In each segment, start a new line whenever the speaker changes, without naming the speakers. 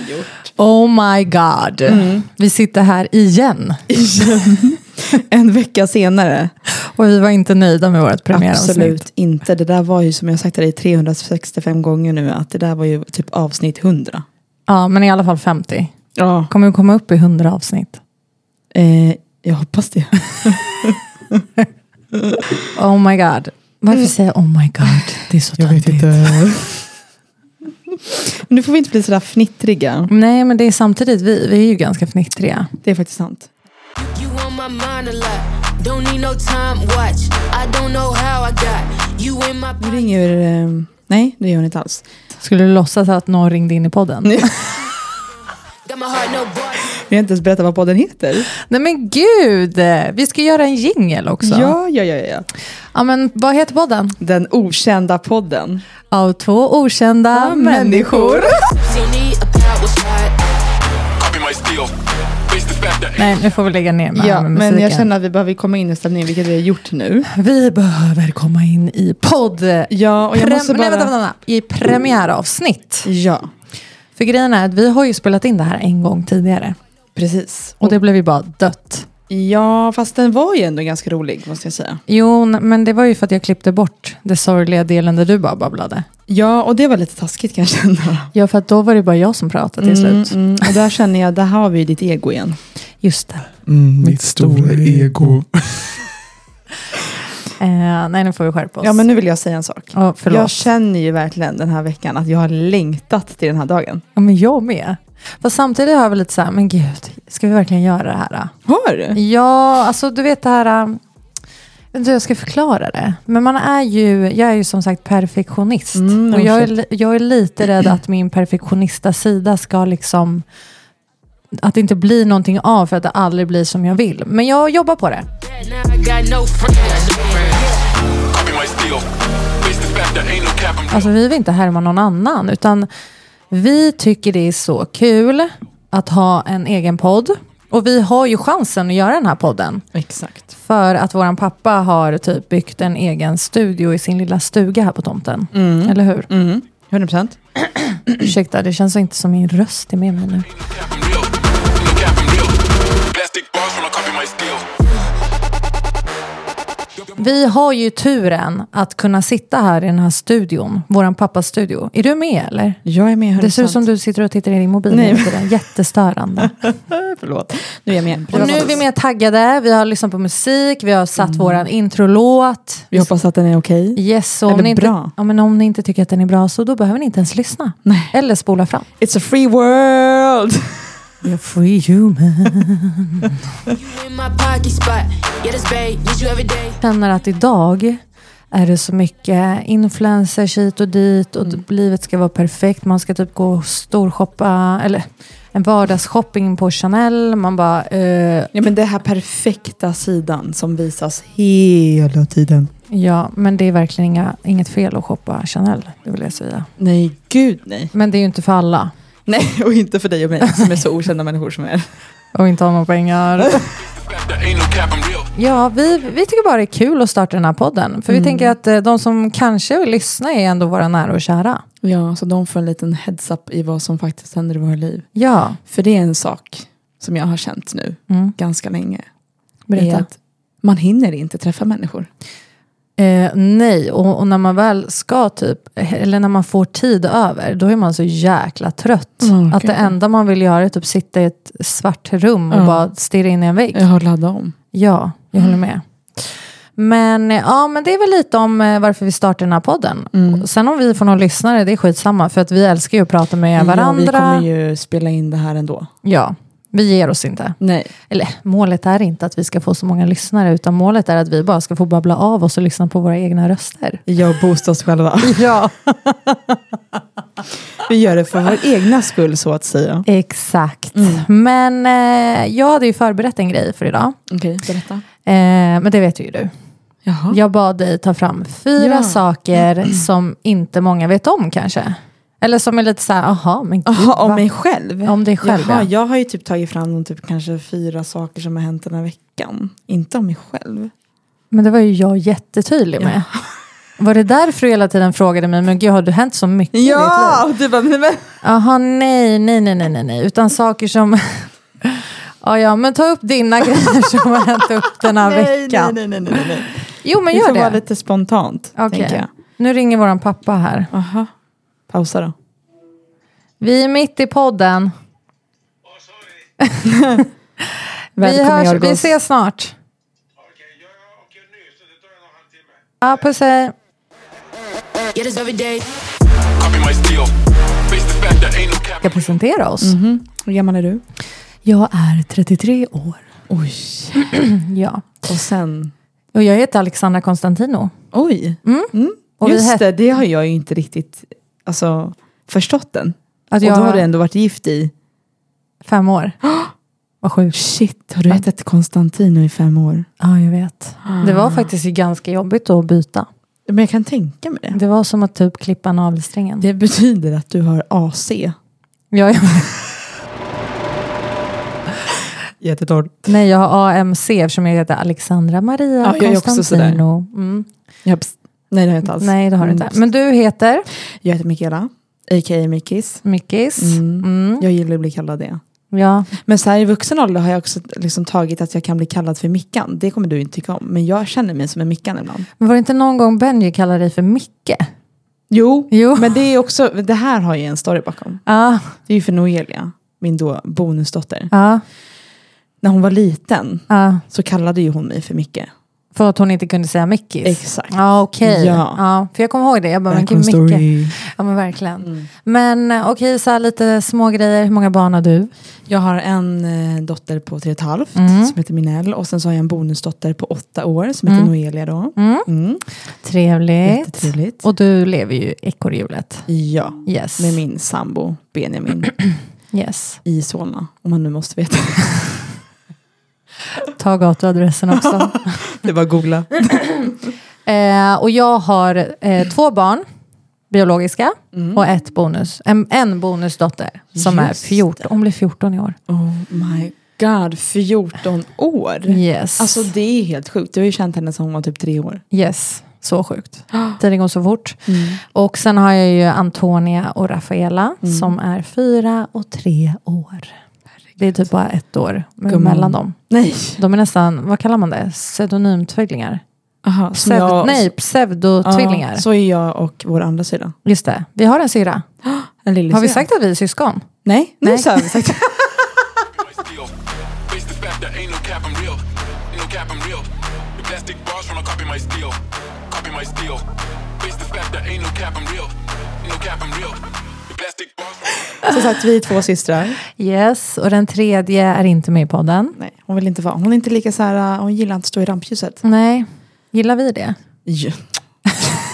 gjort.
Oh my god.
Mm.
Vi sitter här igen
en vecka senare.
och vi var inte nöjda med vårt premiäravsnitt.
Absolut inte. Det där var ju som jag sagt till dig 365 gånger nu att det där var ju typ avsnitt 100.
Ja, men i alla fall 50.
Ja.
Kommer vi komma upp i 100 avsnitt?
Eh, jag hoppas det.
Oh my god. Varför
Mm.
säger jag oh my god? Det är så töntigt.
Men nu får vi inte bli sådär fnittriga.
Nej, men det är samtidigt vi. Vi är ju ganska fnittriga.
Det är faktiskt sant.
You on my mind a lot. Don't need no time watch. I don't know how I got you in my
Nu ringer eh, Nej, det gör hon inte alls.
Skulle du låtsas att någon ringde in i podden?
Nej.
got my heart no bar.
Vi har inte ens berättat vad podden heter.
Nej men gud! Vi ska göra en jingel också.
Ja, ja, ja, ja.
ja, men vad heter podden?
Den okända podden.
Av två okända människor.
Still need a power shot.
Copy my steal. Face the fact that
Nej, nu får vi lägga ner med,
Ja,
med
men jag
musiken.
känner att vi behöver komma in i stämningen, vilket vi har gjort nu.
Vi behöver komma in i podd...
Ja, och jag
Prem-
måste bara...
Nej, vänta, vänta, vänta. I premiäravsnitt.
Ja,
För grejen är att vi har ju spelat in det här en gång tidigare.
precis.
Och det blev ju bara dött.
Ja, fast den var ju ändå ganska rolig, måste jag säga.
Jo, n- men det var ju för att jag klippte bort det sorgliga delen där du bara babblade.
Ja, och det var lite taskigt kan jag känna.
Ja, för att då var det bara jag som pratade till slut.
Mm, och där känner jag, där har vi ju ditt ego igen.
Just det.
Mm, Mitt stora ego.
Eh, nej, nu får vi skärpa oss.
Ja, men nu vill jag säga en sak.
Ja, förlåt.
Jag känner ju verkligen den här veckan att jag har längtat till den här dagen.
Ja, men jag med. Fast samtidigt har jag väl lite så här, men gud, ska vi verkligen göra det här? då?
Har du?
Ja, alltså du vet det här, ähm, jag vet inte hur jag ska förklara det. Men man är ju, jag är ju som sagt perfektionist.
Mm,
och jag är,
shit.
li- jag är lite rädd att min perfektionista sida ska liksom, att det inte blir någonting av för att det aldrig blir som jag vill. Men jag jobbar på det.
Now I got no friends.
copy my steal. Face the fact that ain't no cap. I'm
Alltså vi vill inte härma någon annan, utan vi tycker det är så kul att ha en egen podd. Och vi har ju chansen att göra den här podden.
Exakt.
För att våran pappa har typ byggt en egen studio i sin lilla stuga här på tomten. Eller hur?
Mm. 100 procent.
Ursäkta, det känns inte som min röst är med mig nu.
no cap, I'm real. Ain't no cap, I'm real. Plastic bars when I copy my steal.
Vi har ju turen att kunna sitta här i den här studion, våran pappas studio. Är du med eller?
Jag är med 100
Det ser ut som du sitter och tittar i din mobil.
Nej.
hela tiden. Jättestörande.
Äh, Förlåt. Nu är jag med.
Och nu är vi mer taggade, vi har lyssnat på musik, vi har satt våran introlåt.
Mm. Vi hoppas att den är okej.
Yes, och
Eller
om ni, inte,
bra.
ja, men om ni inte tycker att den är bra så då behöver ni inte ens lyssna.
Nej.
Eller spola fram.
It's a free world!
You're free human.
You in my pocket spot. Yeah, this babe. Need you every day.
känner att idag är det så mycket influencers hit och dit och livet ska vara perfekt. Man ska typ gå och storshoppa, eller en vardagsshopping på Chanel. Man bara, eh,
Ja, men det här perfekta sidan som visas hela tiden.
ja men det är verkligen inga, inget fel att shoppa Chanel, det vill jag säga.
Nej, gud nej.
Men det är ju inte för alla.
Nej, och inte för dig och mig som är så okända människor som är.
Och inte har några pengar.
Fact that ain't no cap, I'm real.
Ja, vi, vi tycker bara det är kul att starta den här podden. För vi tänker att eh, de som kanske vill lyssna är ändå våra nära och kära.
Ja, så de får en liten heads-up i vad som faktiskt händer i våra liv.
Ja,
För det är en sak som jag har känt nu
Mm.
ganska länge. Är
berätta.
att man hinner inte träffa människor.
Eh, nej, och, och när man väl ska typ, eller när man får tid över, då är man så jäkla trött.
Ja,
Att det
gud.
enda man vill göra är typ sitta i ett svart rum och
Ja.
bara stirra in i en vägg.
Jag har laddat om.
Ja, jag håller med. Men, eh, ja, men det är väl lite om eh, varför vi startar den här podden.
Mm.
Sen om vi får någon lyssnare, det är skitsamma. För att vi älskar ju att prata med
Ja, vi
varandra.
kommer ju spela in det här ändå.
Ja, vi ger oss inte.
Nej.
Eller målet är inte att vi ska få så många lyssnare, utan målet är att vi bara ska få babbla av oss och lyssna på våra egna röster.
Jag boostar oss själva.
Ja,
Vi gör det för vår egna skull så att säga.
exakt.
Mm.
Men eh, jag hade ju förberett en grej för idag.
Okej, berätta.
Eh, men det vet ju du.
Jaha.
Jag bad dig ta fram fyra
Ja. Mm.
saker som inte många vet om kanske. Eller som är lite så här, aha, men gud.
Jaha, om
va?
mig själv?
Om dig själv,
Jaha,
ja.
Jag har ju typ tagit fram typ kanske fyra saker som har hänt den här veckan. Inte om mig själv.
Men det var ju jag jättetydlig med. Var det därför du hela tiden frågade mig, men gud har det hänt så mycket i ditt liv?
Ja, du bara, men, men.
Jaha, nej, nej, nej, nej, nej, nej, utan saker som... ja, ja, men ta upp dina grejer som har hänt upp den här
Nej,
veckan.
nej, nej, nej, nej, nej.
Jo, men
Det
gör
får vara
det.
lite spontant,
Okej.
tänker jag.
Nu ringer våran pappa här.
Aha. Pausa då.
Vi är mitt i podden. Vi,
Välkommen,
hörs,
Jorgos.
vi ses snart. Ja, puss hej.
Yeah, this every day.
Copy my steal. Face the fact that ain't no cap.
Ska presentera oss.
Hur gammal är du?
Jag är 33 år.
Oj.
Ja.
Och sen...
Och jag heter Alexandra Konstantino.
Oj.
Och vi
Just
het-
det, det har jag ju inte riktigt alltså, förstått den.
Att
Och
jag
då har
var
du ändå varit gift i...
fem år. Vad sjukt.
Shit, har du ätit Konstantino i fem år?
Ja, jag vet. Det var faktiskt ju ganska jobbigt att byta.
Men jag kan tänka mig det.
Det var som att typ klippa navelsträngen.
Det betyder att du har AC.
Ja, jag,
Jättetorr.
nej, jag har AMC eftersom jag heter Alexandra Maria
Ja, jag är också sådär. Alltså,
Konstantino. Mm.
Jag, nej, det har jag inte alls.
Nej, det har du inte.
Men,
Men du heter?
jag heter Mikaela, a.k.a. Mickis.
Mickis.
Mm.
Mm.
Jag gillar att bli kallad det.
Ja.
Men så här i vuxen ålder har jag också liksom tagit att jag kan bli kallad för Mickan. Det kommer du inte tycka om. Men jag känner mig som en Mickan ibland.
Men var det inte någon gång Benji kallade dig för Micke?
Jo,
Jo.
men det är också, det här har ju en story bakom.
Ja.
Det är ju för Noelia, min då bonusdotter.
ja,
När hon var liten
ja.
så kallade ju hon mig för Micke.
För att hon inte kunde säga Mickis?
Exakt.
Ja, okej.
Ja.
Ja. för jag kommer ihåg det. Jag bara, men gud Micke. Ja, men verkligen.
Mm.
Men eh, okej, så här lite små grejer. Hur många barn har du?
Jag har en eh, dotter på tre och ett halvt
Mm.
som heter Minell och sen så har jag en bonusdotter på åtta år som heter
Mm.
Noelia då.
Mm.
Mm.
Trevligt.
Jättetrevligt.
Och du lever ju ekorrhjulet.
Ja,
Yes.
med min sambo Benjamin
yes.
i Solna, om man nu måste veta.
Ta gatuadressen också.
Det var googla.
eh, och jag har eh, två barn, biologiska, och ett bonus, en, en bonusdotter som är
Mm. Just
14. Hon blir 14 i år.
Oh my god, 14 år!
Yes.
Alltså det är helt sjukt, jag har ju känt henne sedan hon var typ tre år.
Yes, så sjukt. Tiden går så fort.
Mm.
Och sen har jag ju Antonia och Rafaela som är fyra och tre år. Det är typ bara ett år
Gumman.
mellan dem.
Nej!
De är nästan, vad kallar man det? Pseudonymtvillingar?
Aha, som
Pseudo,
jag-
nej,
Ja,
pseudotvillingar.
Så är jag och vår andra syrra.
Just det, vi har en syrra.
En lille
Har vi
syrra.
sagt att vi är syskon?
Nej, nu så har vi sagt
Copy my steal. Face the fact that ain't no cap. I'm real. Ain't no cap. I'm real. The plastic bars when I copy my steal. Copy my steal. Face the fact that ain't no cap. I'm real. Ain't no cap. I'm real. The plastic bars. When I
Som sagt, vi är två systrar.
Yes, och den tredje är inte med i podden.
Nej, hon vill inte vara, hon är inte lika så här, äh, hon gillar inte att stå i rampljuset.
Nej, gillar vi det?
Ja.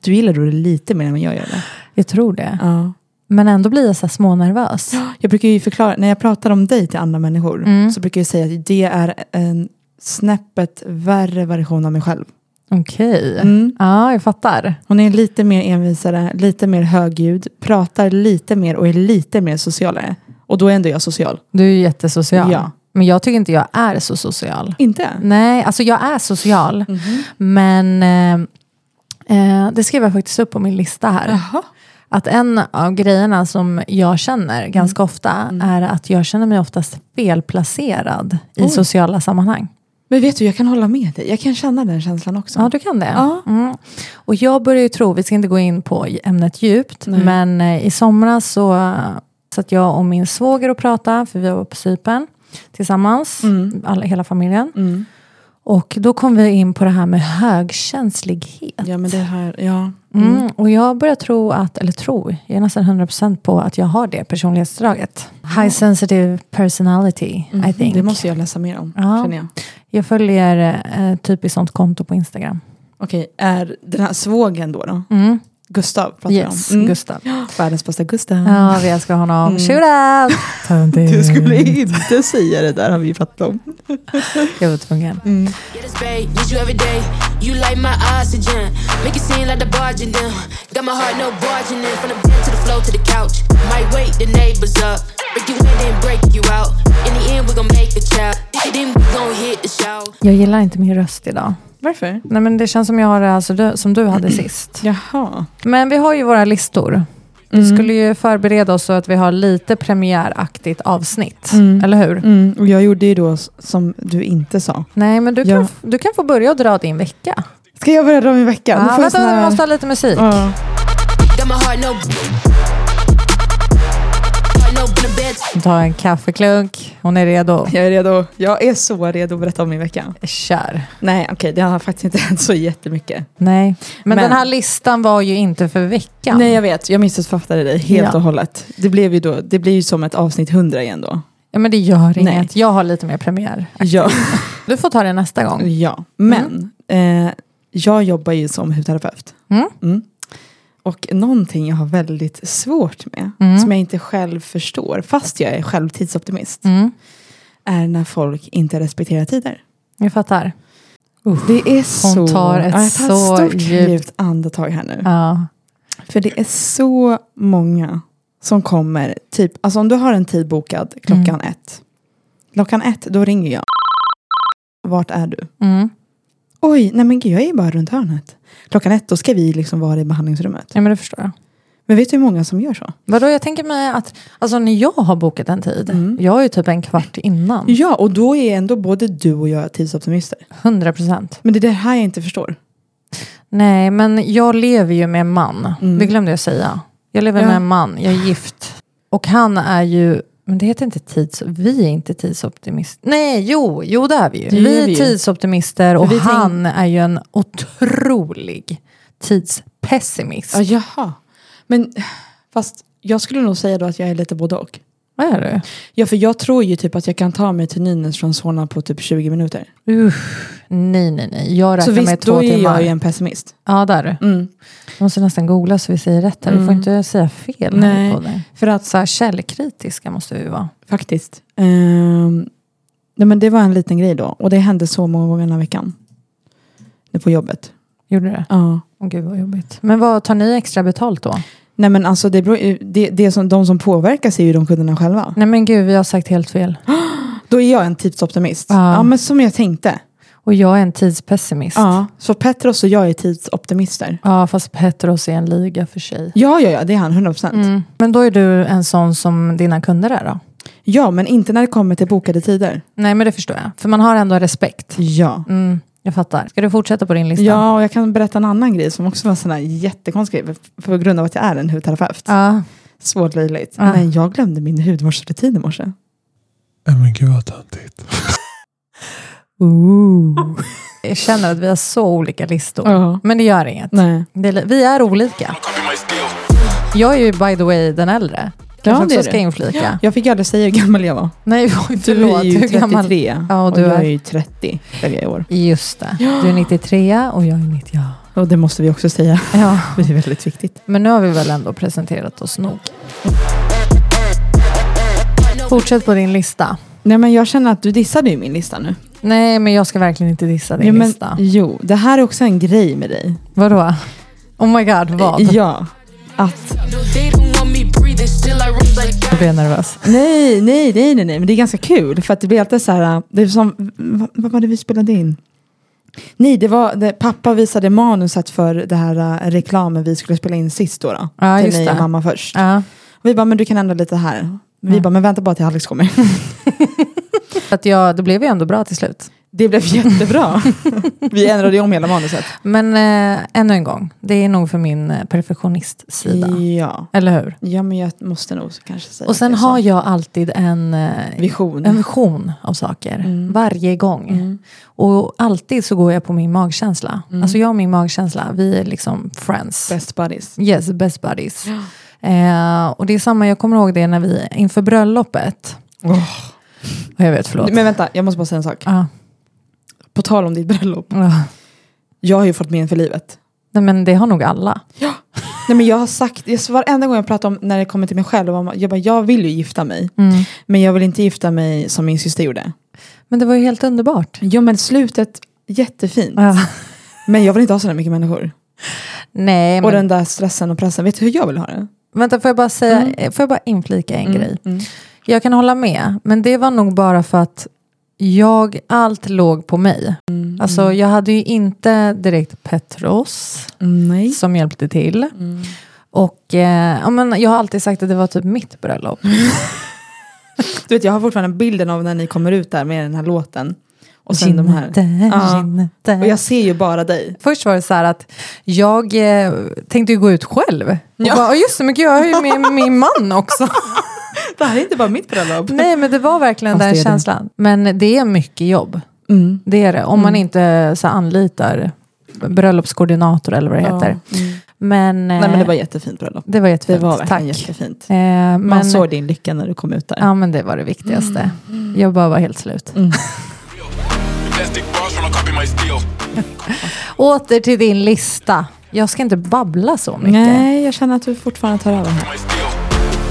Du gillar då det lite mer än vad jag gör det.
Jag tror det.
Ja.
Men ändå blir jag så här smånervös.
Jag brukar ju förklara, när jag pratar om dig till andra människor så brukar jag säga att det är en snäppet värre version av mig själv.
Okej,
Mm.
ja jag fattar.
Hon är lite mer envisare, lite mer högljudd, pratar lite mer och är lite mer socialare. Och då är ändå jag social.
Du är ju jättesocial.
Ja. Mm.
Men jag tycker inte jag är så social.
Inte? Mm-hmm.
Nej, alltså jag är social. Men eh, eh, det skrev jag faktiskt upp på min lista här. Att en av grejerna som jag känner
Mm.
ganska ofta är att jag känner mig oftast felplacerad i sociala sammanhang.
Men vet du, jag kan hålla med dig. Jag kan känna den känslan också.
Ja, du kan det.
Ja.
Mm. Och jag börjar ju tro, vi ska inte gå in på ämnet djupt, men eh, i somras så eh, satt jag och min svåger och pratade, för vi var på Cypern tillsammans, alla, hela familjen.
Mm.
Och då kom vi in på det här med högkänslighet.
ja, men det här, ja.
Mm. Och jag börjar tro att, eller tro, jag är nästan 100% på att jag har det personlighetsdraget. High sensitive personality, I think.
Mm, Mm-hmm. Det måste jag läsa mer om,
Ja.
känner jag.
Jag följer eh, typiskt sånt konto på Instagram.
Okej, är den här svågen då? då?
Mm.
Gustav pratar
Yes,
jag om. Mm.
Gustav.
Världens bästa Gustav.
Ja, vi älskar honom.
Mm.
Shoot out!
Du skulle inte säga det där har vi pratat om.
Jag var tvungen.
Mm.
Yeah, this babe, need you every day. You like my oxygen. Make it seem like the barging down. Got my heart, no barging in. From the bed to the floor to the couch. Might wake the neighbors up. Break you in, then break you out. In the end, we gon' make a child. Then we gon' hit the shower.
Jag gillar inte min röst idag.
Varför?
Nej, men det känns som jag har det alltså, du, som du hade
Mm.
sist.
Jaha.
Men vi har ju våra listor. Vi
Mm.
skulle ju förbereda oss så att vi har lite premiäraktigt avsnitt.
Mm.
Eller hur?
Mm, och jag gjorde ju då s- som du inte sa.
Nej, men du kan,
Ja.
f- du kan få börja och dra din vecka.
Ska jag börja dra min vecka?
ah,
Nu får jag
vänta,
sån här-
vi måste ha lite musik.
Ja.
Got my heart no. Heart no in the bed.
Ta en kaffeklunk. Hon är redo.
Jag är redo. Jag är så redo att berätta om min vecka.
Kör.
Nej, okej, det har faktiskt inte hänt så jättemycket.
Nej, men,
Men-
den här listan var ju inte för veckan.
Nej, jag vet. Jag missuppfattade dig helt
Ja.
och hållet. Det blev ju då, det blir ju som ett avsnitt 100 igen då.
Ja, men det gör
Nej.
inget. Jag har lite mer premiär.
Ja.
Du får ta det nästa gång.
ja. Men eh, jag jobbar ju som hudterapeut.
Mm.
Och någonting jag har väldigt svårt med,
Mm.
som jag inte själv förstår, fast jag är självtidsoptimist,
Mm.
är när folk inte respekterar tider.
Jag fattar.
Det är så...
Hon tar ett
Ja, jag tar
så
ett stort
djupt-
djupt andetag här nu.
Ja.
För det är så många som kommer, typ, alltså om du har en tid bokad klockan
Mm.
ett. Klockan ett, då ringer jag. Vart är du?
Mm.
Oj, nej men gud, jag är bara runt hörnet. Klockan ett, då ska vi liksom vara i behandlingsrummet.
ja, men det förstår jag.
Men vet du hur många som gör så?
Vadå, jag tänker mig att alltså, när jag har bokat en tid, jag är ju typ en kvart innan.
Mm. Ja, och då är ändå både du och jag tidsoptimister.
100 procent.
Men det är det här jag inte förstår.
Nej, men jag lever ju med en man. Det glömde jag säga. Jag lever
Mm. Ja.
med en man, jag är gift. Och han är ju, men det heter inte tids... Vi är inte tidsoptimister. Nej, jo, jo det är vi ju.
Det är
vi är
vi ju.
tidsoptimister och
vi tänk-
han är ju en otrolig tidspessimist.
Ja, jaha. Men fast jag skulle nog säga då att jag är lite både och.
Vad är
Ja, för jag tror ju typ att jag kan ta mig till Nynäs från Solna på typ 20 minuter.
du? Uff, nej, nej, nej. Jag
Så
räknar
visst,
med två
då är
timmar.
jag ju en pessimist.
Ja, där. är du.
Mm.
Jag måste nästan googla så vi säger rätt här. Vi får inte säga fel.
Nej.
Här på det.
För att,
Så här källkritiska måste vi vara.
faktiskt. Ehm, nej, men det var en liten grej då. Och det hände så många gånger den här veckan. Nu på jobbet.
Gjorde du det?
Ja.
Åh gud vad jobbigt. Men vad tar ni extra betalt då?
Nej men alltså, det beror, ju- det, det som, de som påverkas är ju de kunderna själva.
Nej men gud, vi har sagt helt fel.
Då är jag en tidsoptimist.
Ja.
Ja, men som jag tänkte.
Och jag är en tidspessimist.
Ja. Så Petros och jag är tidsoptimister.
Ja, fast Petros är en liga för sig. Mm.
Ja, ja, ja, det är han, 100 procent.
Men då är du en sån som dina kunder är då?
Ja, men inte när det kommer till bokade tider.
Nej men det förstår jag. För man har ändå respekt.
Ja.
Mm, jag fattar. Ska du fortsätta på din lista?
Ja, och jag kan berätta en annan grej som också var en sån här jättekonstig grej, för- på grund av att jag är en hudterapeut.
Ja.
Svårt löjligt.
Ja.
Men jag glömde min hudvårdsrutin i morse.
Nej men gud vad töntigt.
Ooh. Jag känner att vi har så olika listor.
Ja.
Men det gör inget.
Nej.
Det är li- vi är olika.
Copy my steal.
Jag är ju by the way den äldre. Kanske
det är
också ska
du.
inflika.
Jag fick aldrig säga hur gammal jag var.
Nej, oj, förlåt.
du är ju
Hur
33
gammal- Ja, och du
jag
är-
är ju 30 eller jag är i år.
Just det. Du är 93 och jag är 90.
Och det måste vi också säga,
Ja.
det är väldigt viktigt.
Men nu har vi väl ändå presenterat oss nog. Fortsätt på din lista.
Nej men jag känner att du dissade ju min lista nu.
Nej, men jag ska verkligen inte dissa din
jo, men,
lista.
jo, det här är också en grej med dig.
Vadå? Oh my god, vad? Jag
Ja. Att,
They don't want me breathing, still I rip like
blir nervös.
nej, nej, nej, nej, nej, men det är ganska kul för att det blir alltid så här, äh, det är som, vad, vad var det vi spelade in? Nej, det var, det, pappa visade manuset för det här eh, reklamen vi skulle spela in sist då. då
Ja,
till
just
mig och
det.
mamma först.
Ja.
Vi bara, men du kan ändra lite här. Vi bara, men vänta bara till Alex kommer.
Att jag, det blev ju ändå bra till slut.
Det blev jättebra. Vi ändrade ju om hela manuset.
Men eh, ännu en gång, det är nog för min eh, perfektionist-sida.
Ja.
Eller hur?
ja, men jag måste nog kanske säga
Och sen
att det är
har
så.
jag alltid en eh,
Vision. Mm.
en vision av saker. Varje gång. Och alltid så går jag på min magkänsla.
Mm.
Alltså jag och min magkänsla, vi är liksom friends.
Best buddies.
Yes, best buddies. Eh, och det är samma, jag kommer ihåg det när vi, inför bröllopet. Och jag vet, förlåt.
Men vänta, jag måste bara säga en sak.
Ja.
På tal om ditt bröllop.
Ja.
Jag har ju fått men för livet.
Nej, men det har nog alla.
Nej, men jag har sagt, jag, varenda gång jag pratar om när det kommer till mig själv, om- jag bara, jag vill ju gifta mig. Men jag vill inte gifta mig som min syster gjorde.
Mm. Men det var ju helt underbart.
Jo men slutet, jättefint.
Ja.
Men jag vill inte ha sådana mycket människor.
Nej,
Och
men
den där stressen och pressen, vet du hur jag vill ha det?
vänta, får jag bara säga,
Mm.
eh, får jag bara inflika en grej? Jag kan hålla med, men det var nog bara för att jag, allt låg på mig.
Mm.
Alltså jag hade ju inte direkt Petros
Mm, nej.
som hjälpte till.
Mm.
Och eh, ja, men jag har alltid sagt att det var typ mitt bröllop.
Du vet, jag har fortfarande bilden av när ni kommer ut där med den här låten. Och sen de här. Ja.
Ginette,
Och
Ginette.
jag ser ju bara dig.
Först var det så här att jag eh, tänkte ju gå ut själv. Och
Ja.
bara, "Ja, just det, men gud, jag har ju min, min man också.
Det här är inte bara mitt bröllop.
Nej, men det var verkligen
Fast det
den
är det.
känslan. Men det är mycket jobb.
Mm.
Det är det. Om man inte så här, anlitar bröllopskoordinator eller vad det heter.
Ja. Mm.
Men, eh,
Nej men det var jättefint bröllop.
det var
Det
jättefint.
var
Tack.
verkligen jättefint.
Eh, men,
Man såg Mm. din lycka när du kom ut där.
Ja, men det var det viktigaste. Jag bara var helt slut.
Plastic bars when I copy my steel.
Åter till din lista. Jag ska inte babbla så mycket.
Nej, jag känner att du fortfarande tar över. här.
My steel.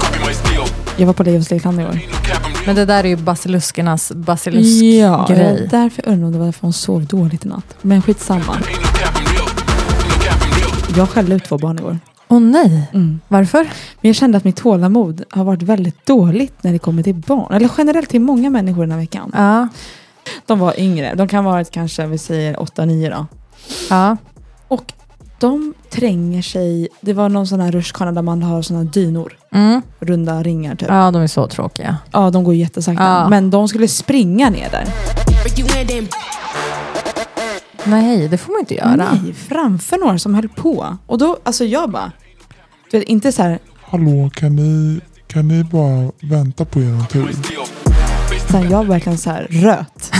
Copy my steel.
Jag var på Leos Lekland i år.
Ain't no cap, I'm real.
Men det där är ju basiluskernas basiliskgrej.
Ja, det var därför jag undrar om det var därför hon sov dåligt i natt. Men skitsamma.
Ain't no cap, I'm real. Ain't no cap, I'm real.
Jag skällde ut två barn igår.
Åh nej,
Mm.
varför?
Men jag kände att mitt tålamod har varit väldigt dåligt när det kommer till barn. Eller generellt till många människor den här veckan.
Ja,
De var yngre. De kan ha varit kanske, vi säger 8-9 då.
ja.
Och de tränger sig. Det var någon sån här rutschkana där man har såna här dynor.
Mm.
Runda ringar typ. Ja,
ja de är så tråkiga.
de går jättesakta.
Ja.
Men de skulle springa ner där.
Break you in, then
Nej, det får man inte göra.
Nej, framför några som höll på. Och då, alltså jag bara. Du vet, inte så här
Hallå, kan ni, kan ni bara vänta på er tur?
Steel.
Sen jag verkligen så här röt.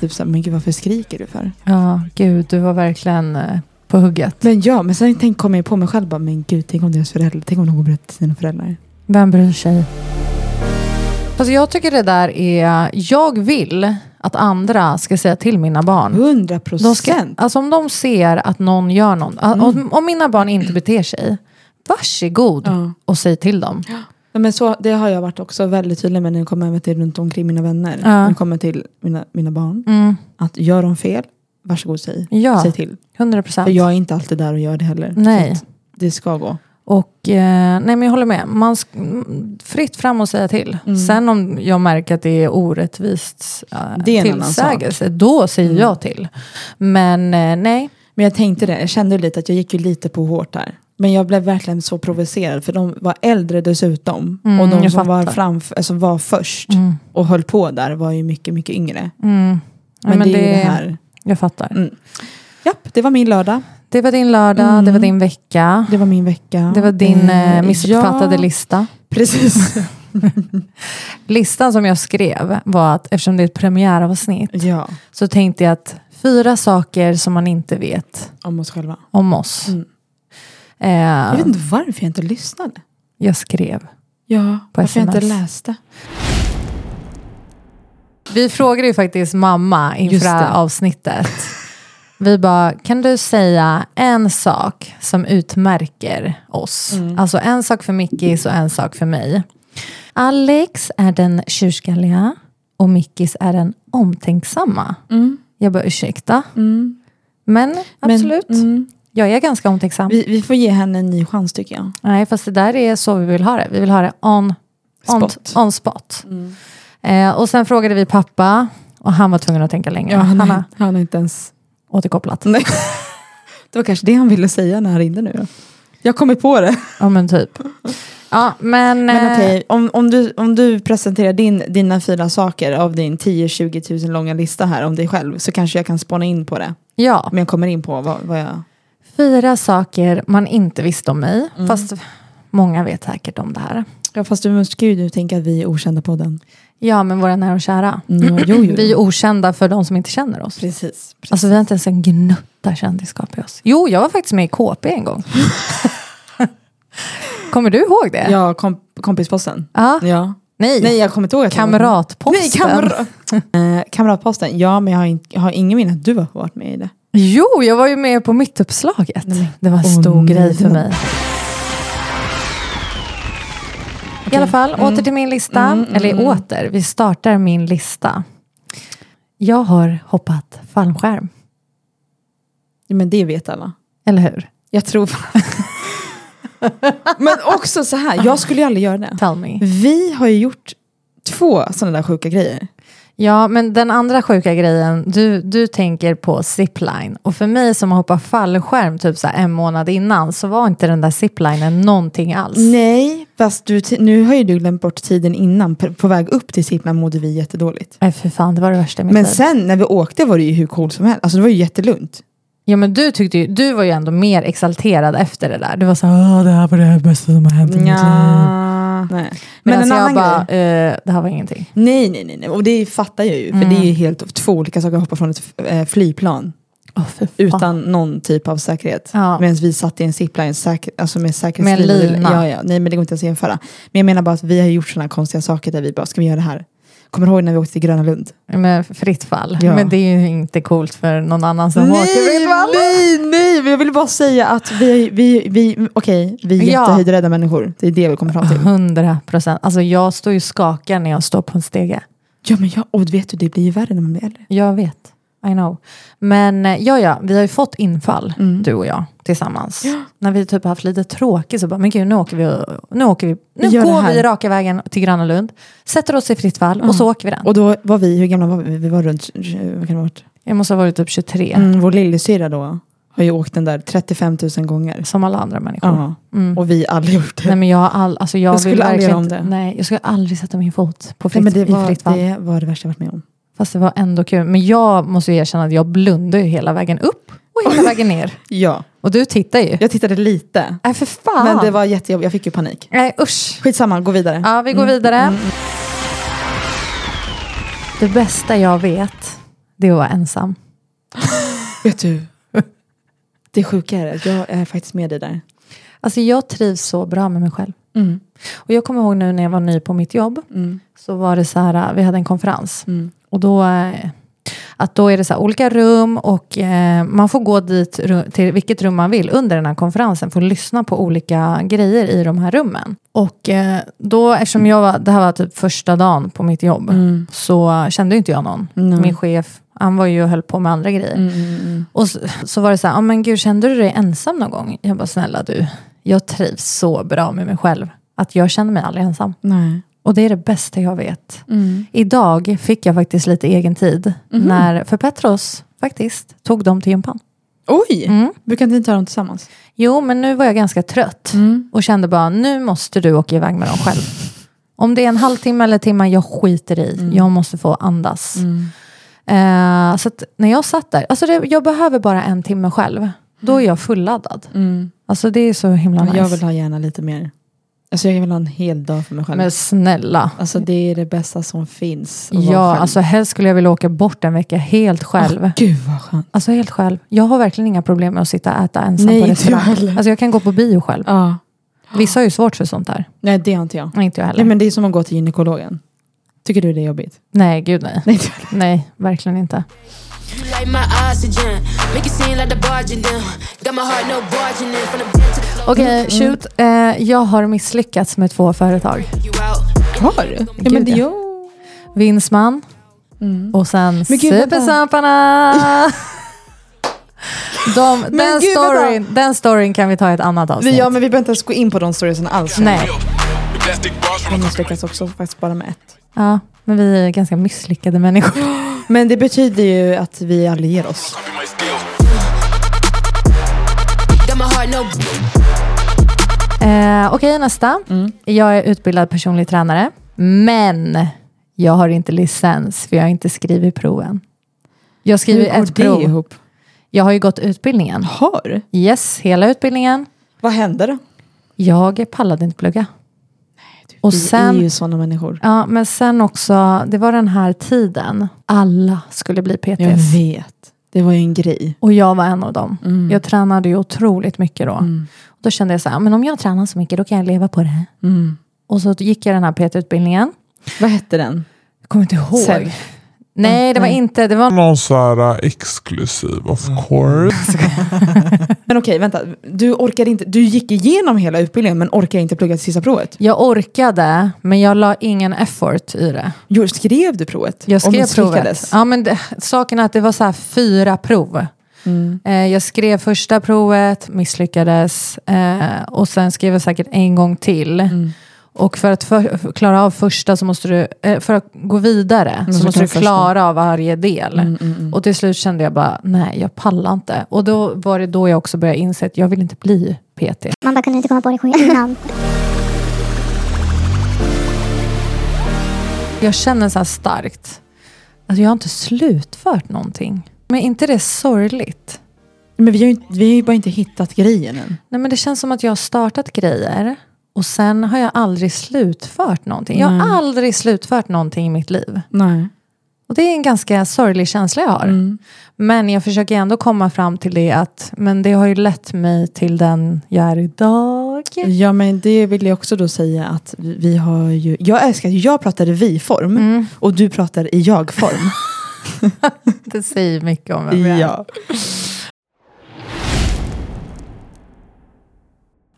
typ så här, men gud varför skriker du för?
Ja, gud, du var verkligen eh, på hugget.
Men ja, men sen tänk, kom jag på mig själv bara, men gud tänk om deras föräldrar, tänk om de går och berättar till sina föräldrar.
Vem bryr sig? Alltså jag tycker det där är... Jag vill att andra ska säga till mina barn.
Hundra
De ska,
procent. Mm.
alltså om de ser att någon gör något, om, om mina barn inte beter sig, varsågod
Ja.
och säg till dem.
Ja, men så, det har jag varit också väldigt tydlig med när det kommer även till runt omkring mina vänner.
Ja.
När det kommer till mina, mina barn.
Mm.
Att gör de fel, varsågod säg.
Ja,
Säg till.
100
För
procent.
jag är inte alltid där och gör det heller.
Nej.
Så att Det ska gå.
Och, eh, nej men jag håller med. Man sk- mm, fritt fram och säga till.
Mm.
Sen om jag märker att det är orättvist eh,
Det är en annan Mm.
tillsägelse, då säger jag till. Men eh, nej,
Men jag tänkte det, jag kände lite att jag gick ju lite på hårt där. Men jag blev verkligen så provocerad för de var äldre dessutom.
Mm,
och de
jag
som var,
fattar. Mm.
framf- alltså, var först och höll på där var ju mycket, mycket yngre.
Ja,
Men,
Mm. men
det är ju
det-
det här.
jag fattar.
Japp, det var min lördag.
Det var din lördag, det var din vecka.
Det var min vecka.
Det var din eh,
Mm. Eh,
missuppfattade
ja,
lista.
Precis.
Listan som jag skrev var att eftersom det är ett premiäravsnitt
ja,
så tänkte jag att fyra saker som man inte vet
om oss själva.
om oss.
Mm. Jag
Eh,
vet inte varför jag inte lyssnade.
jag skrev.
Ja,
På
varför jag inte
SMS.
läste.
Vi frågade ju faktiskt mamma
Just
inför det
det.
här avsnittet. Vi bara, kan du säga en sak som utmärker oss?
Mm.
Alltså en sak för Mickis och en sak för mig. Alex är den tjurskalliga och Mickis är den omtänksamma. Jag bara, ursäkta? Men mm. absolut,
Mm. Men, mm,
jag är ganska omtänksam.
vi, vi får ge henne en ny chans tycker jag.
Nej, fast det där är så vi vill ha det. Vi vill ha det on on
Spot. Mm.
on spot. Eh, och sen frågade vi pappa och han var tvungen att tänka länge. han har
han har inte ens
återkopplat.
Nej. Det var kanske det han ville säga när han ringde nu. Jag kommer på det.
Ja, men typ. Ja, men...
Men
eh,
okej, om, om, du, om du presenterar din, dina fyra saker av din 10-20 tusen långa lista här om dig själv så kanske jag kan spåna in på det.
Ja,
Om jag kommer in på vad, vad jag...
fyra saker man inte visste om mig.
Mm.
Fast många vet säkert om det här.
Ja, fast du måste ju nu tänka att vi är okända podden.
Ja, men våra nära och kära.
Mm, jo, jo.
Vi är okända för de som inte känner oss.
Precis. precis.
Alltså vi har inte ens en gnutta kändisskap i oss. Jo, jag var faktiskt med i KP en gång. Kommer du ihåg det?
Ja, kom, kompisposten.
Ja.
Ja.
Nej.
Nej, jag kommer inte ihåg att jag var-
Kamratposten.
Nej, kamra... eh, kamratposten. Ja, men jag har, in, jag har ingen minne att du har varit med i det.
Jo, jag var ju med på mittuppslaget. Det var en
Åh,
stor
nej,
grej
det
för
var-
mig. I alla fall,
Mm.
åter till min lista. Eller åter, vi startar min lista. Jag har hoppat fallskärm,
Ja, Men det vet alla.
eller hur?
Jag tror Men också så här, jag skulle ju aldrig göra det.
Tell me.
Vi har ju gjort två sådana där sjuka grejer.
Ja, men den andra sjuka grejen, du, du tänker på zipline. Och för mig som hoppar fallskärm typ så här en månad innan så var inte den där ziplinen någonting alls.
Nej, fast du, t- nu har ju du glömt bort tiden innan. På, på väg upp till Sipplan mådde vi jättedåligt.
Nej, för fan, det var det värsta i mitt
Men
liv.
sen när vi åkte var det ju hur coolt som helst. Alltså det var ju jättelugnt.
Ja, men du, tyckte ju, du var ju ändå mer exalterad efter det där. Du var så här, "Åh, det här var det här bästa som har hänt i mitt liv.
Nej. Men
Men
en
jag
annan
bara,
grej.
"Eh, det här var ingenting.
Nej, nej, nej, nej. Och det fattar jag ju. För det är ju helt två olika saker att hoppa från ett eh, flygplan
Oh, för fan.
utan någon typ av säkerhet.
Ja.
Medan vi satt i en zipline säker, alltså med
Med en
säkerhetsliv.
lina.
Ja, ja. Nej, men det går inte ens att jämföra. Men jag menar bara att vi har gjort sådana konstiga saker där vi bara, ska vi göra det här? Kommer du ihåg när vi åkte till Gröna Lund?
Med fritt fall.
Ja.
Men det är ju inte coolt för någon annan som åker fritt fall.
nej, nej, men jag ville bara säga att vi, vi, vi okej, vi är
Ja.
jättehöjdrädda människor. Det är det vi kommer fram till.
Hundra procent. Alltså jag står ju och skakar när jag står på en stege.
Ja, men jag, och vet du, det blir ju värre när man blir äldre.
Jag vet. I know. Men eh, ja, ja, vi har ju fått infall,
Mm.
du och jag, tillsammans. När vi typ haft lite tråkigt så bara, men gud, nu åker vi, och- nu åker vi, nu
Vi gör det
går
här. Mm.
vi raka vägen till Gröna Lund, sätter oss i fritt fall och så åker vi den.
Och då var vi, hur gamla var vi? Vi var runt, vad kan det ha varit?
Jag måste ha varit typ 23,
Mm, vår lillasyrra då har ju åkt den där 35 000 gånger.
som alla andra människor.
Ja.
Mm.
Och vi aldrig gjort det.
Nej, men jag, har all, alltså, jag,
Jag
vill
skulle aldrig göra
verkligen
om
inte- Nej, jag skulle aldrig sätta min fot på
Nej,
fritt,
men det,
i
var,
fritt fall.
det var det värsta jag varit med om.
Fast det var ändå kul. Men jag måste ju erkänna att jag blundar ju hela vägen upp och hela vägen ner.
Ja,
Och du tittar ju.
jag tittade lite.
Nej, för fan.
Men det var jättejobbigt, jag fick ju panik.
Nej, usch.
Skitsamma, gå vidare. Mm,
Ja, vi går vidare. Det bästa jag vet, det är att vara ensam.
Vet du, det sjuka är att jag är faktiskt med dig där.
Alltså jag trivs så bra med mig själv. Och jag kommer ihåg nu när jag var ny på mitt jobb. Så var det så här, vi hade en konferens. Och då, eh, att då är det så här, olika rum och eh, man får gå dit ru- till vilket rum man vill under den här konferensen. Får lyssna på olika grejer i de här rummen. Och eh, då, eftersom jag var, det här var typ första dagen på mitt jobb.
Mm.
Så kände ju inte jag någon. mm. Min chef, han var ju och höll på med andra grejer.
Mm.
Och så, så var det så här, "Ja, men gud kände du dig ensam någon gång? Jag bara, snälla du, jag trivs så bra med mig själv. Att jag känner mig aldrig ensam.
Nej.
Och det är det bästa jag vet. Idag fick jag faktiskt lite egen tid
Mhm.
när, för Petros faktiskt, tog dem till gympan. Mm.
Oj! Brukar inte ni ta dem tillsammans?
Jo, men nu var jag ganska trött
Mm.
och kände bara, nu måste du åka iväg med dem själv. Om det är en halvtimme eller timme, jag skiter i.
Mm.
Jag måste få andas. Eh, så att när jag satt där, alltså det, jag behöver bara en timme själv. Då är jag fulladdad. Alltså det är så himla nice.
Mm. Jag vill ha gärna lite mer. Alltså jag vill ha en hel dag för mig själv.
Men snälla.
Alltså det är det bästa som finns. att vara
Ja,
själv. Ah.
alltså helst skulle jag vilja åka bort en vecka helt själv.
Gud vad skönt.
Alltså helt själv. Jag har verkligen inga problem med att sitta och äta ensam
Nej,
på
inte jag
restaurang.
heller.
alltså jag kan gå på bio själv.
Ja.
Vissa har ju svårt för sånt där.
Nej det har inte jag.
Nej, inte jag heller.
Nej men det är som att gå till gynekologen. Tycker du det är jobbigt?
Nej, gud nej.
Nej, inte jag heller.
Nej, verkligen inte.
You like my oxygen. Make it seem like the barging down. Got my heart, no barging in. From the bed to the floor.
Mm,
Okej, shoot. Eh, jag har misslyckats med två företag.
You out.
Har du? Ja men
Gud,
det
ja.
gör
Vinsman och sen
Mm. Men gud, vänta.
Supersamparna. De, den,
gud, vänta.
storyn, den storyn kan vi ta i ett annat avsnitt.
vi. Ja men vi behöver inte ens gå in på de storiesen alls.
Nej,
The plastic
Jag
bars from a company.
misslyckas också faktiskt bara med ett.
ja, men vi är ganska misslyckade människor.
Men det betyder ju att vi aldrig ger oss.
Copy my steal.
Got my heart, no.
Eh, Okej, nästa.
Mm.
Jag är utbildad personlig tränare, men jag har inte licens för jag har inte skrivit proven. Jag skriver ett prov.
ihop?
Jag har ju gått utbildningen.
Har du?
Yes, hela utbildningen.
Vad händer då?
Jag pallade inte plugga. Och
vi
sen-
typ. är ju sådana människor.
Ja, men sen också, det var den här tiden. Alla skulle bli PTs.
Jag vet. Det var ju en grej.
Och jag var en av dem.
Mm.
Jag tränade ju otroligt mycket då. Då kände jag så här, men om jag tränar så mycket då kan jag leva på det här. Och så gick jag den här PT-utbildningen.
Mm. Vad hette den?
Jag kommer inte ihåg.
Sen.
Nej, det var inte. Det var
Någon så här eh, exklusiv of course.
Men okej, vänta. Du orkade inte. Du gick igenom hela utbildningen men orkade inte plugga till sista provet.
Jag orkade, men jag la ingen effort i det.
Jo, skrev du provet?
Jag
Och
skrev provet.
misslyckades?
Ja, men det, saken är att det var så här fyra prov.
Mm,
Eh, jag skrev första provet, misslyckades eh, och sen skrev jag säkert en gång till. Och för att för, för- klara av första så måste du, eh, för att gå vidare
så
Mm, så måste
kan
du
jag förstå.
klara av varje del.
Mm, mm, mm.
Och till slut kände jag bara, nej jag pallar inte. Och då var det då jag också började inse att jag vill inte bli PT.
Man bara kunde inte komma på det själv innan.
Jag känner så här starkt att jag har inte slutfört någonting. Men är inte det sorgligt?
Men vi har, ju, inte- vi har ju bara inte hittat grejen än.
Nej men det känns som att jag har startat grejer och sen har jag aldrig slutfört någonting. Jag
Nej.
har aldrig slutfört någonting i mitt liv.
Nej.
Och det är en ganska sorglig känsla jag har.
Mm.
Men jag försöker ändå komma fram till det att men det har ju lett mig till den jag är idag.
Ja men det vill jag också då säga att vi- vi har ju, jag älskar att jag pratar i vi-form
Mm.
och du pratar i jag-form.
Det säger mycket om vem jag är.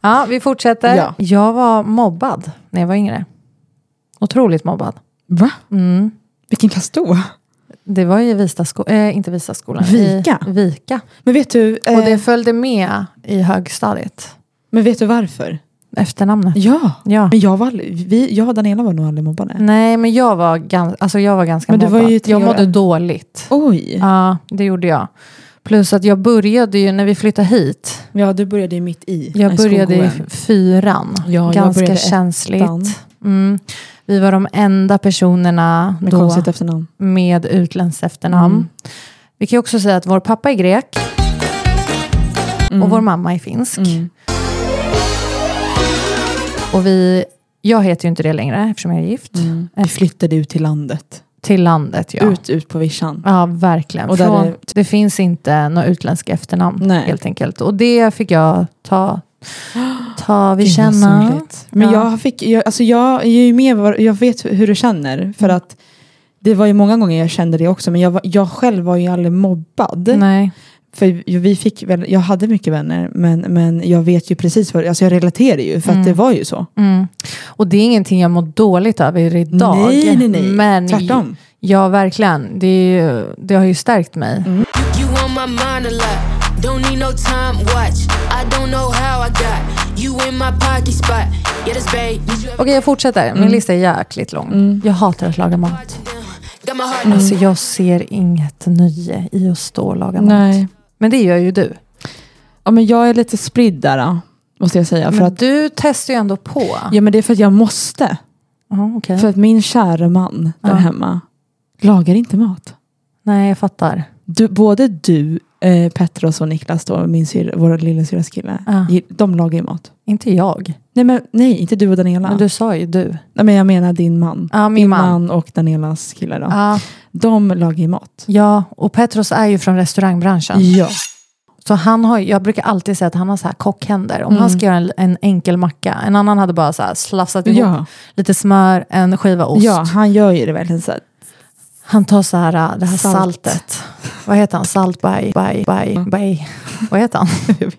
Ja, vi fortsätter.
Ja.
Jag var mobbad när jag var yngre. Otroligt mobbad.
Va?
Mm.
Vilken klass då?
Det var i Vistasko- eh, inte Vistaskolan.
Vika.
I Vika.
Men vet du, eh,
Och det följde med i högstadiet.
men vet du varför?
Efternamnet.
Ja.
Ja. Mm.
Men jag var aldrig, vi, jag och Daniela var nog aldrig mobbade.
Nej, men jag var, gans- alltså jag var ganska
Men du var
mobbad.
ju tre
jag
år
mådde
äldre.
dåligt.
Oj.
Ja, det gjorde jag. Plus att jag började ju, när vi flyttade hit,
Ja du började ju mitt i.
Jag
Nej,
började i
skolgården.
fyran.
Ja, jag
Ganska
började ettan.
känsligt. Mm. Vi var de enda personerna
Med
då
konstigt efternamn.
med utländskt efternamn.
Mm.
Vi kan ju också säga att vår pappa är grek och vår mamma är finsk.
Mm.
Och vi, jag heter ju inte det längre eftersom jag är gift. Eh,
Mm. Vi flyttade ut till landet.
Till landet ja.
Ut, ut på vischan.
Ja, verkligen.
Och där
Från,
är-
Det finns inte några utländska efternamn
Nej.
helt enkelt. Och det fick jag ta, ta vi
Gud, vad
känna.
sorgligt. Men
Ja.
jag, fick, jag, alltså jag är ju med, var- jag vet hur du känner. För att det var ju många gånger jag kände det också. Men jag, var, jag själv var ju aldrig mobbad.
Nej.
För vi fick väl, jag hade mycket vänner. Men, men jag vet ju precis vad, alltså jag relaterar ju. För att det var ju så.
Mm. Och det är ingenting jag mår dåligt över idag.
Nej, nej, nej.
Men
Tvärtom.
Ja, verkligen. Det, är ju, det har ju stärkt mig.
Mm.
You on my mind a lot. Don't need no time watch. I don't know how I got you in my pocket spot. Yeah, that's babe. Need you every
Okej, jag fortsätter.
Mm.
Min lista är jäkligt lång. Jag hatar att laga mat.
watching them. Got my heart
Alltså, jag ser inget nöje i att stå och laga mat.
Nej.
Men det gör ju du.
Ja, men jag är lite spridd där. då, Måste jag säga. För
Men
att,
du testar ju ändå på.
ja, men det är för att jag måste.
Ja, okej.
För att min kära man där
Ja.
hemma lagar inte mat.
Nej, jag fattar.
du, både du, eh, Petros och Niklas, då, min syr, vår lillasyrras kille,
Ja.
ge- de lagar ju mat.
Inte jag.
Nej, men, nej, inte du och Daniela.
Men du sa ju du.
nej, men jag menar din man.
Ja, min
din
man.
och Danielas kille. Då.
Ja.
De lagar ju mat.
ja, och Petros är ju från restaurangbranschen.
Ja.
Så han har, jag brukar alltid säga att han har så här kockhänder. Om han ska göra en, en enkel macka, en annan hade bara så här slafsat ihop
Ja.
lite smör, en skiva ost.
ja, han gör ju det verkligen så här.
Han tar så här, äh, det här
Salt.
saltet. Vad heter han? Salt by, by, by, by. Vad heter han?
Jag vet.
Mm.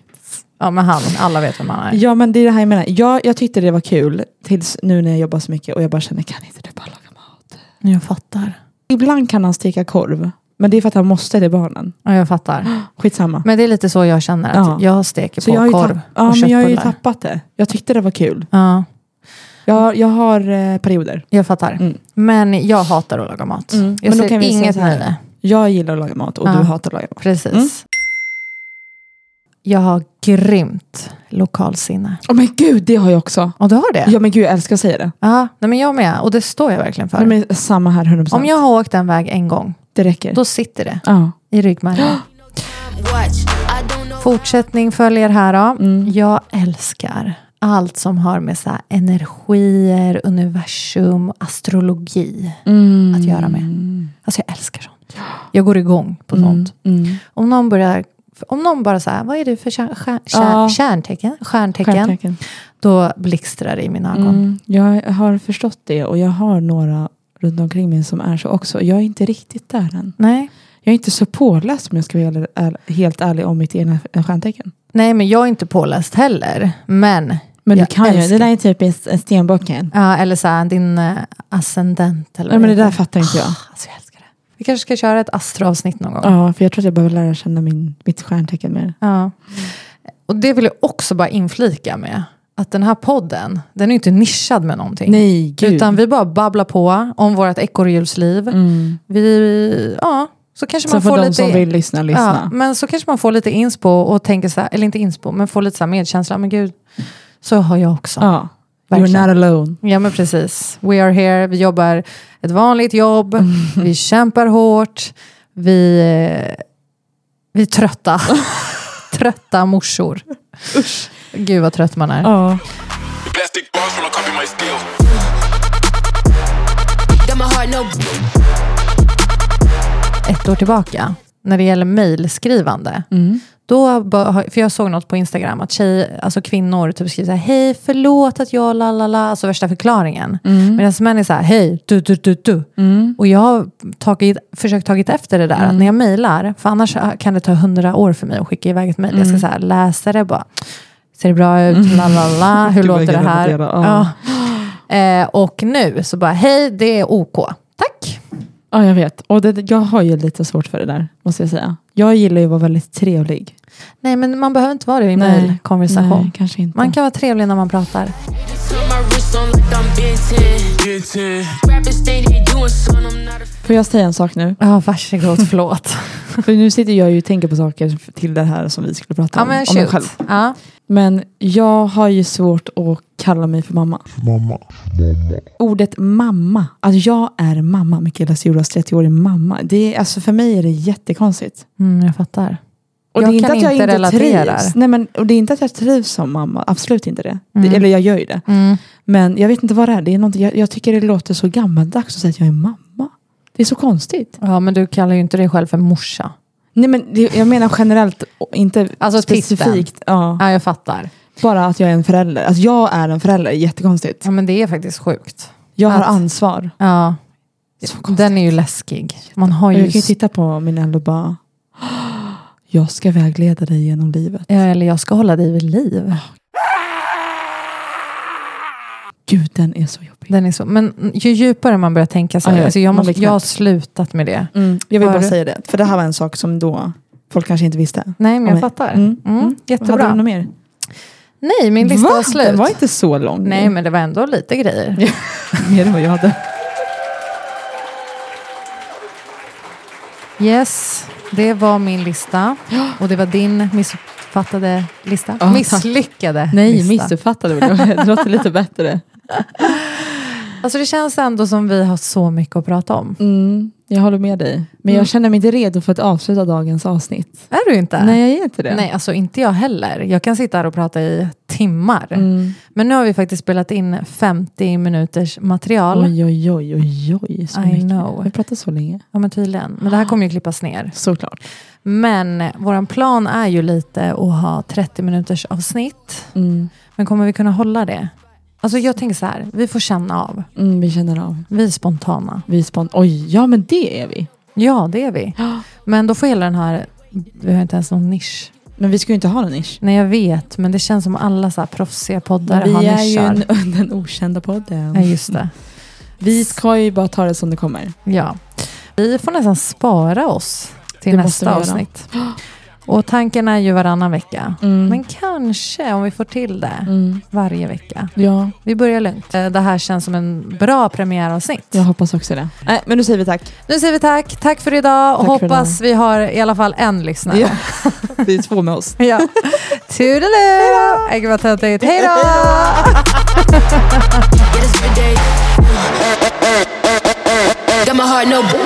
Ja men han, alla vet vem han är.
Ja, men det är det här jag menar. Jag, jag tyckte det var kul tills nu när jag jobbar så mycket och jag bara känner, kan inte du bara laga mat?
Jag fattar.
Ibland kan han steka korv, men det är för att han måste det barnen.
Ja jag fattar.
Skitsamma.
Men det är lite så jag känner, att
Ja.
jag steker
så
på
jag har ju
korv
tapp- ja,
och
men jag har ju
köttbullar.
tappat det. Jag tyckte det var kul.
Ja,
Jag har, jag har eh, perioder.
jag fattar.
Mm.
Men jag hatar att laga mat.
Mm.
Jag
Men då
ser
kan vi säga
inget
så här.
nöje.
Jag gillar att laga mat och
Ja.
du hatar att laga mat.
Precis.
Mm.
Jag har grymt lokalsinne.
Åh men gud, det har jag också.
Och du har det?
Ja men gud, jag älskar att säga det.
Ja, nej, men jag med. Och det står jag verkligen för.
Nej, men samma här, 100%.
Om jag har åkt en väg en gång,
Det räcker.
då sitter det
Ja.
i ryggmärgen.
time watch. I don't know.
Fortsättning följer här
Mm.
då. Jag älskar allt som har med så här energier, universum, astrologi
Mm.
att göra med. Alltså jag älskar sånt. Jag går igång på
Mm.
sånt. Om någon börjar om någon bara så här, vad är du för kär, kär,
Ja.
stjärntecken? stjärntecken?
Stjärntecken.
Då blixtrar det i mina ögon.
Mm. Jag har förstått det och jag har några runt omkring mig som är så också. Jag är inte riktigt där än.
Nej.
Jag är inte så påläst om jag ska vara helt ärlig- helt ärlig om mitt egna stjärntecken.
Nej, men jag är inte påläst heller. Men,
Men
jag
du kan ju.
älskar-
Det där är typiskt en stenbocken.
Ja, eller så här, din eh, ascendent. Eller
Nej
vad
men det där
heter.
fattar inte jag.
Alltså, jag älskar det. Vi kanske ska köra ett astroavsnitt någon gång.
Ja, för jag tror att jag behöver lära känna min, mitt stjärntecken mer.
Ja. Och det vill jag också bara inflika med. att den här podden, den är ju inte nischad med någonting.
Nej, gud.
Utan vi bara babblar på om vårt ekorrhjulsliv. Vi, ja, så kanske
Mm. så
man
får
får
de
lite...
som vill lyssna, lyssna.
Ja, men så kanske man får lite inspo och tänker så här, eller inte inspo, men får lite så här medkänsla. Men gud, så har jag också. Ja.
Ja.
Verkligen.
You're not alone.
men precis. We are here, vi jobbar ett vanligt jobb, vi kämpar hårt, vi, eh, vi är trötta. trötta morsor. Gud vad trött man är.
Ja.
The plastic bars when I copy my steel.
Got my heart, no.
ett år tillbaka när det gäller mejlskrivande.
Mm,
Då, bör- för jag såg något på Instagram att tjej, alltså kvinnor typ skriver så här, hej förlåt att jag la la la, alltså värsta förklaringen.
mm,
Medan män är så här, hej du du du du. Och jag har tagit, försökt tagit efter det där, att när jag mejlar, för annars kan det ta hundra år för mig att skicka iväg ett mejl. Jag ska så här, läsa det bara, ser det bra ut, la la la, hur
Gud, vad
låter det
jag
här?
repeterar, ja.
Ja. Eh, och nu så bara, hej det är OK, tack.
ja, jag vet. Och det, jag har ju lite svårt för det där, måste jag säga. Jag gillar ju att vara väldigt trevlig.
Nej men man behöver inte vara det i
Nej.
mejlkonversation.
Nej, kanske inte.
Man kan vara trevlig när man pratar.
Turn my wrist on like I'm Benton. Rappers think they doing something, I'm not a
Får jag säga en sak nu?
Ja, varsågod, förlåt.
För nu sitter jag ju och tänker på saker till det här som vi skulle prata
ja
om.
men
om mig
shoot. Ja.
Men jag har ju svårt att kalla mig för mamma.
Mamma. Mamma.
Ordet mamma, att jag är mamma, Mikaela Ciuras 30-årig mamma. Det är, alltså för mig är det jättekonstigt.
Mm, jag fattar.
Och
Jag
det är inte
kan
att jag
inte
inte
relatera.
trivs. Nej, men, och det är inte att jag trivs som mamma, absolut inte det. det eller jag gör ju det.
Mm.
Men jag vet inte vad det är. Det är någonting- jag, jag tycker det låter så gammaldags att säga att jag är mamma. Det är så konstigt.
Ja men du kallar ju inte dig själv för morsa.
Nej, men det, jag menar generellt, och inte
Alltså
specifikt. Ja,
Ja jag fattar.
bara att jag är en förälder. Att jag är en förälder är jättekonstigt.
Ja men det är faktiskt sjukt.
Jag har
Att-
ansvar.
Ja.
Så
Den är ju läskig. Man har
Och
ju...
jag kan ju typ- titta på min äldre och bara, "Åh, jag ska vägleda dig genom livet.
Ja, Eller jag ska hålla dig vid liv.
Gud, den är så jobbig.
Den är så. Men ju djupare man börjar tänka sig.
Ja, ja,
alltså jag,
man
måste,
blir knäpp.
jag har slutat med det.
Mm. Jag vill
Var
bara
du-
säga det, för det här var en sak som då folk kanske inte visste.
Nej men
Om
jag
mig.
fattar.
Mm.
Mm,
Hade du
jättebra.
något mer?
Nej min lista
Va?
var slut.
Den var inte så lång.
Nej men det var ändå lite grejer.
Mer än vad jag hade.
Yes, det var min lista. Och det var din missuppfattade lista.
Ja,
Misslyckade
Nej,
lista.
missuppfattade vill jag. Det låter lite bättre.
Alltså det känns ändå som vi har så mycket att prata om.
Mm, jag håller med dig. Men jag känner mig inte redo för att avsluta dagens avsnitt.
Är du inte?
Nej, jag är inte det.
Nej, alltså inte jag heller. Jag kan sitta här och prata i timmar.
Mm.
Men nu har vi faktiskt spelat in 50 minuters material.
Oj, oj, oj, oj, oj. Så
I
mycket.
know.
Vi pratar så länge.
Ja men tydligen. Men det här kommer ju klippas ner.
Såklart.
Men våran plan är ju lite att ha 30 minuters avsnitt.
Mm.
Men kommer vi kunna hålla det? Alltså jag tänker så här, vi får känna av.
Mm, vi känner av.
Vi är spontana.
Vi är spont- Oj, ja men det är vi.
Ja, det är vi. Men då får hela den här... Vi har inte ens någon nisch.
Men vi ska ju inte ha någon nisch.
Nej, jag vet. Men det känns som alla så här proffsiga poddar har
vi är ju
nischar.
en, den okända podden.
Ja, just det.
Vi ska ju bara ta det som det kommer.
Ja. Vi får nästan spara oss till
Det måste vi
nästa
göra.
avsnitt. Och tanken är ju varannan vecka.
Mm.
Men kanske, om vi får till det, varje vecka.
Ja,
Vi börjar lugnt. Eh, Det här känns som en bra premiäravsnitt.
jag hoppas också det. Nej, men nu säger vi tack.
Nu säger vi tack. Tack för idag. Och
Tack för
hoppas vi har i alla fall en lyssnare.
Ja. Vi är två med oss.
Ja. Toodaloo! Äh, gud vad töntigt. Hej då!
Got my heart, no.